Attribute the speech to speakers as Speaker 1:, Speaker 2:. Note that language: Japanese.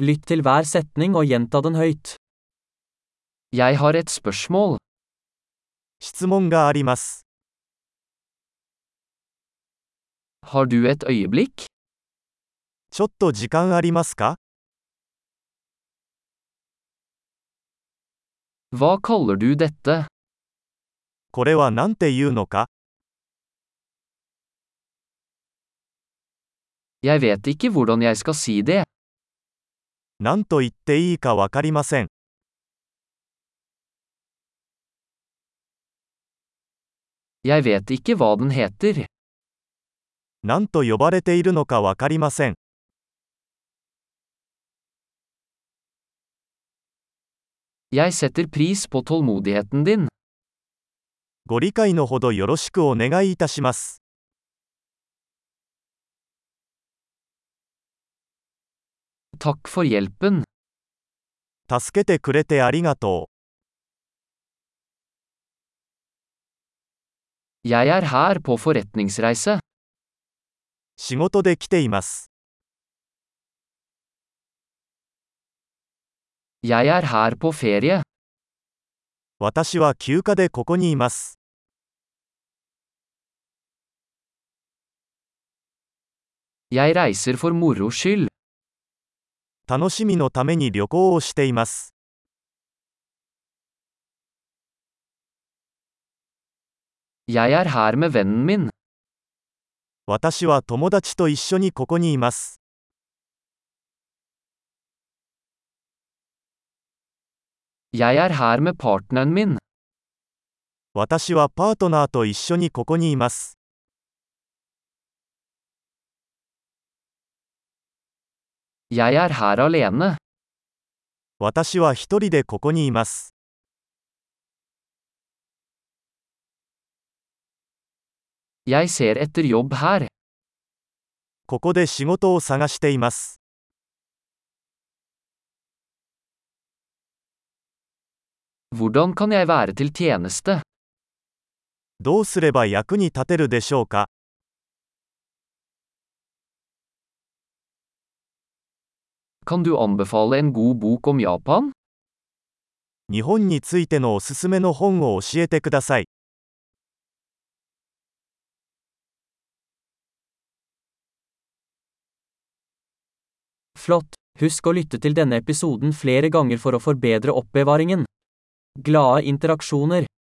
Speaker 1: Lytt til hver setning og gjenta den høyt.
Speaker 2: Jeg har et spørsmål.
Speaker 3: 質問があります。
Speaker 2: Har du et øyeblikk?
Speaker 3: ちょっと時間ありますか
Speaker 2: Hva kaller du dette?
Speaker 3: これは何て言うのか
Speaker 2: Jeg vet ikke hvordan jeg skal si det.
Speaker 3: 何と言っていいかわかりません。
Speaker 2: Jeg vet ikke hva den heter.
Speaker 3: 何と呼ばれているのかわかりません。
Speaker 2: Jeg setter pris på tålmodigheten din.
Speaker 3: ご理解のほどよろしくお願いいたします。
Speaker 2: Takk for hjelpen.
Speaker 3: 助けてくれてありがと
Speaker 2: Jeg er her på forretningsreise.
Speaker 3: う。仕事で来ています。
Speaker 2: Jeg er her på ferie.
Speaker 3: 私は休暇でここにいます。
Speaker 2: Jeg reiser for moro skyld.
Speaker 3: 楽しみのために旅行をしています。
Speaker 2: Jeg er her med vennen min.
Speaker 3: 私は友達と一緒にここにいます。
Speaker 2: Jeg er her med partneren min.
Speaker 3: 私はパートナーと一緒にここにいます。
Speaker 2: Jeg er her alene.
Speaker 3: 私は一人でここにいます。
Speaker 2: Jeg ser etter jobb her.
Speaker 3: ここで仕事を探しています。
Speaker 2: Hvordan kan jeg være til tjeneste?
Speaker 3: どうすれば役に立てるでしょうか
Speaker 2: Kan du anbefale en god bok om Japan?
Speaker 3: 日本についてのおすすめの本を教えてください。
Speaker 1: Flott! Husk å lytte til denne episoden flere ganger for å forbedre oppbevaringen. Glade interaksjoner!